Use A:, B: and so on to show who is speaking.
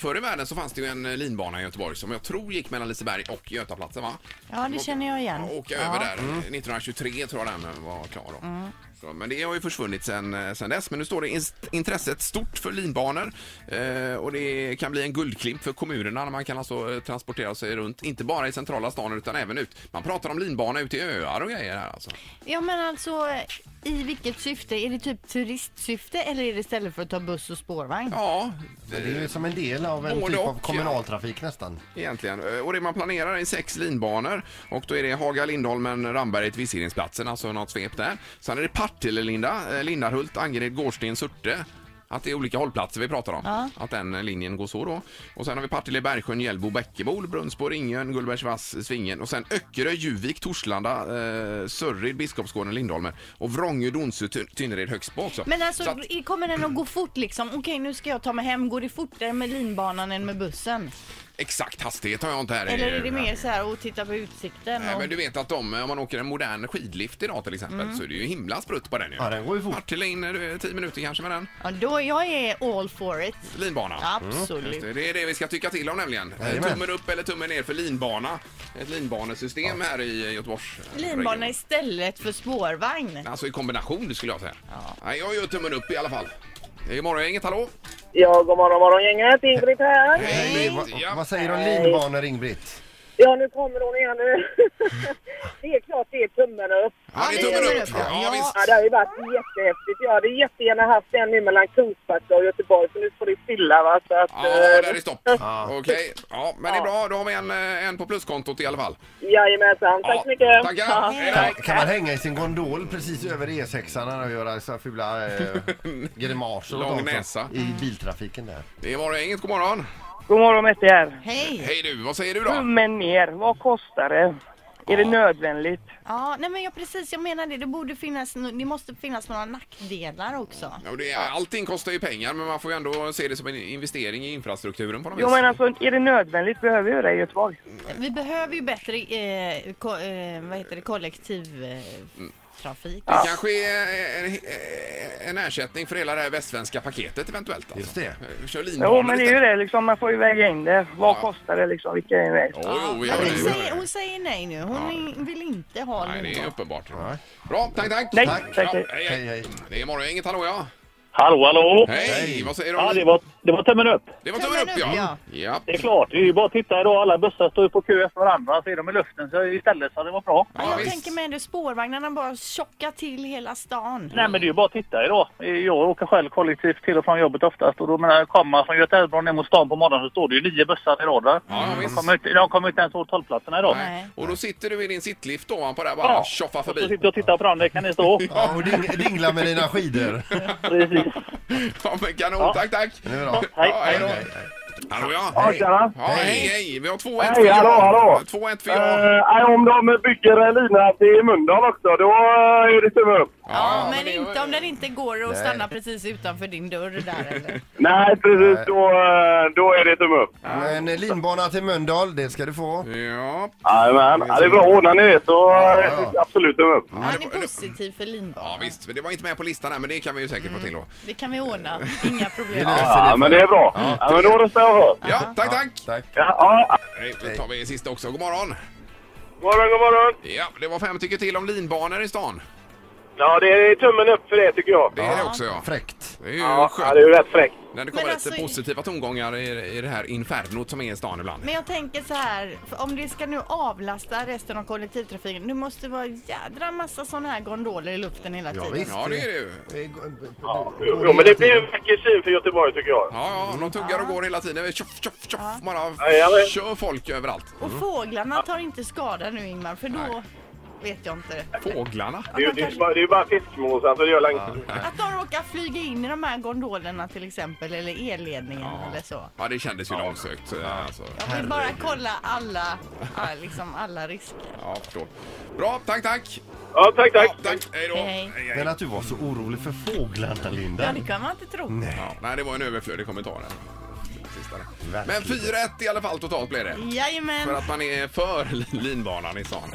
A: Förr i världen så fanns det ju en eh, linbana i Göteborg som jag tror gick mellan Liseberg och Götaplatsen va?
B: Ja, det känner jag igen.
A: Ja, Mm. åka
B: Ja.
A: över där. 1923 tror jag den eh, var klar då. Så, men det har ju försvunnit sen, eh, sen dess. Men nu står det "Inst- intresset stort för linbanor eh, och det kan bli en guldklimp för kommunerna när man kan alltså eh, transportera sig runt, inte bara i centrala stan utan även ut. Man pratar om linbana ut till öar och grejer här alltså.
B: Ja, men alltså i vilket syfte? Är det typ turistsyfte eller är det istället för att ta buss och spårvagn?
A: Ja,
C: Men det är ju som en del av en
A: Både
C: typ
A: och,
C: av
A: ja.
C: kommunaltrafik nästan.
A: egentligen. Eh, Och det man planerar är sex linbanor och då är det Haga, Lindholmen, Ramberget, Visiringsplatsen, alltså något svep där. Sen är det Partille, Linda, eh, Lindarhult, Angered, Gårdsten, Surte. Att det är olika hållplatser vi pratar om. Att den eh, linjen går så då. Och sen har vi Partille, Bergsjön, Hjällbo, Bäckebol, Brunnsbo, Ringön, Gullbergsvass, Svingen och sen Öckerö, Juvik, Torslanda, eh, Sörred, Biskopsgården, Lindholmen och Vrångö, Donsö, Tyn- Tynnered, Högsbo också.
B: Men alltså,
A: Så att-
B: i- kommer den att gå fort liksom? Okej, nu ska jag ta mig hem. Går det fortare med linbanan än med bussen?
A: exakt hastighet har jag inte här. Eh,
B: Eller är det mer så här att titta på utsikten?
A: Nej,
B: och...
A: men du vet att de, om man åker en modern skidlift idag till exempel så är det ju himla sprutt på den ju.
C: Ja, den går ju fort.
A: Partille in eh, du, 10 minuter kanske med den.
B: ja, då, jag är all for it.
A: Linbana. Mm, Just
B: Absolut.
A: det, det är det vi ska tycka till om nämligen. Eh,
C: Jajamän.
A: Tummen upp eller tummen ner för linbana. Ett linbanesystem här i eh, Göteborgs eh,
B: Linbana
A: region.
B: istället för spårvagn.
A: Alltså i kombination skulle jag säga. Nej, jag gör tummen upp i alla fall. Det är morgongänget, hallå?
D: Ja, god morgon, morgon gänget. Ingrid här.
A: Hej!
C: Vad,
A: Ja.
C: vad säger du om linbanor, Ingrid?
D: Ja, nu kommer hon igen. nu. det är klart det är tummen upp.
A: ja, det är tummen upp. Ja,
B: Ja.
A: visst.
D: Ja, det har ju varit jättehäftigt. Jag hade jättegärna haft en nu mellan Kungsbacka och Göteborg, för nu står det stilla. Va? Så att,
A: Ja,
D: eh,
A: där är stopp. Okej, ja, men det är bra. Då har vi en, eh, en på pluskontot i alla fall.
D: eh, Jajamensan. Tack
A: Ja,
D: så mycket.
A: tackar.
D: Ja,
A: Hej då.
D: tack.
C: Kan man hänga i sin gondol precis över E E6an och göra så här fula eh, grimaser? åt
A: Lång
C: dem som-
A: näsa.
C: I biltrafiken där.
A: Det är morgongänget, god morgon.
E: God morgon Mette här.
B: Hej!
A: Hej du, vad säger du då?
E: Tummen ner, vad kostar det? Är det nödvändigt?
B: Ja, nej men jag precis, jag menar det. Det borde finnas, det måste finnas några nackdelar också.
A: Ja, det är, allting kostar ju pengar men man får ju ändå se det som en investering i infrastrukturen på något
E: Jag
A: vis.
E: menar alltså, är det nödvändigt? Behöver vi det i Göteborg?
B: Vi behöver ju bättre eh, ko- eh, vad heter det, eh,
A: Det
B: kollektivtrafik.
A: kanske är en, en ersättning för hela det här västsvenska paketet eventuellt. Alltså.
C: Just det.
A: Kör linbanor
E: Jo, men det är ju
A: istället.
E: det liksom, man får ju väga in det. Vad
A: Ja.
E: kostar det liksom? Vilka är det?
A: Jo, jo, vi gör
B: Men
A: det.
B: hon,
A: vi gör
B: säger,
A: det.
B: hon säger nej nu. Hon in- vill inte ha
A: Nej, det är
B: linbana.
A: uppenbart.
C: Nej.
A: Bra, tack, tack.
E: Nej,
C: Tack.
E: tack,
A: Ja,
E: tack.
A: hej,
C: Hej,
A: hej.
C: hej.
A: Det är morgongänget, hallå ja.
F: Hallå, hallå!
A: Hej,
C: Hej.
A: vad säger du?
F: Ja, det var, det var tummen upp.
A: det var tummen upp ja. ja.
F: Det är klart, det är ju bara att titta idag. Alla bussar står ju på kö efter varandra. Så är de i luften så istället så det var bra.
B: Ja,
A: Ja,
B: jag
A: visst.
B: tänker mig ändå spårvagnarna bara tjocka till hela stan.
F: Nej, men det är ju bara att titta idag. Jag åker själv kollektivt till och från jobbet oftast. Och då menar jag, kommer man från Göteborg ner mot stan på morgonen så står det ju nio bussar i rad va?
A: Ja, ja,
F: De
A: visst.
F: kommer, inte, de kommer inte ens åt hållplatserna idag.
B: Nej.
A: Och då sitter du i din sittlift ovanpå där bara tjoffa
F: Så
A: förbi.
F: sitter jag och tittar på varandra, kan ni stå?
C: Ja, och ding, dingla med dina skidor.
F: Precis.
A: Ja, men kanon,
F: Ja.
A: tack, tack.
C: Det är bra.
F: Hej,
A: Ja,
F: hej.
A: hej då.
C: Hej, hej.
A: Hallå ja.
C: Ja,
F: tjena.
A: Ja, hej, hej. Vi har 2-1
F: Hej,
A: för Jan.
F: hallå, hallå. Eh.
A: 2-1 för Jan.
F: Ja. om de bygger linan till Mölndal också, då eh, är det tumme upp.
B: Ja,
A: Ja,
B: men
A: det-
B: inte om den inte går att stanna precis utanför din dörr där eller?
F: Nej, precis. Då, eh, då är det tumme upp.
C: Men eh, linbana till Mölndal, det ska du få.
A: Ja,
F: Jajamän. Ja, det är bra. Ordnar ni det så
C: Ja.
F: absolut tumme upp.
B: Han är positiv för linbana.
A: ja visst, men det var inte med på listan här men det kan vi ju säkert få till då.
B: Det kan vi ordna. Inga problem.
F: Ja, men det är bra. Ja, men då röstar jag för.
A: Ja, tack tack!
C: Tack.
F: Ja, ja.
A: Hej, Då tar vi sista också, god morgon.
F: Morgon, god morgon.
A: Ja, det var fem tycker till om linbanor i stan.
F: Ja, det är tummen upp för det tycker jag.
A: Det är det också ja.
C: Fräckt.
A: Det är ju
F: Ja, ja, det är
A: skönt
F: ju rätt fräckt.
A: när det kommer
B: Men
A: lite
B: alltså-
A: positiva tongångar i, i det här infernot som är i stan ibland.
B: Men jag tänker så här, för om det ska nu avlasta resten av kollektivtrafiken, det måste vara en jädra massa sådana här gondoler i luften hela
C: Ja,
B: tiden.
C: visst.
A: Ja, det är det ju.
C: Eh,
F: Jo, men det blir ju en vacker syn för Göteborg tycker jag.
A: Ja, ja, de tuggar och går hela tiden. Tjoff, tjoff, tjoff. Bara
F: Jajamän.
A: kör folk överallt.
B: Och fåglarna tar inte skada nu Ingmar, för då vet jag inte.
A: Fåglarna.
F: Det är ju- det är ju bara- det är ju bara fiskmåsar så det gör länge.
B: Att de råkar flyga in i de här gondolerna till exempel, eller elledningen eller så.
A: Ja, det kändes ju långsökt. Alltså.
B: Jag vill bara kolla alla, ja, liksom alla risker.
A: Ja, jag förstår. Bra, tack, tack.
F: Ja, tack,
A: Ja,
F: tack.
A: tack. Hej då.
B: Hej.
A: hej.
C: Men att du var så orolig för fåglarna,
B: Ja,
C: Linda.
B: det kan man inte tro.
C: Mm.
A: Ja, nej, det var en överflödig kommentar. Där. Sista där. Men
C: Verkligen.
A: 4-1 i alla fall totalt blev det.
B: Jajamän!
A: För att man är för linbanan i stan.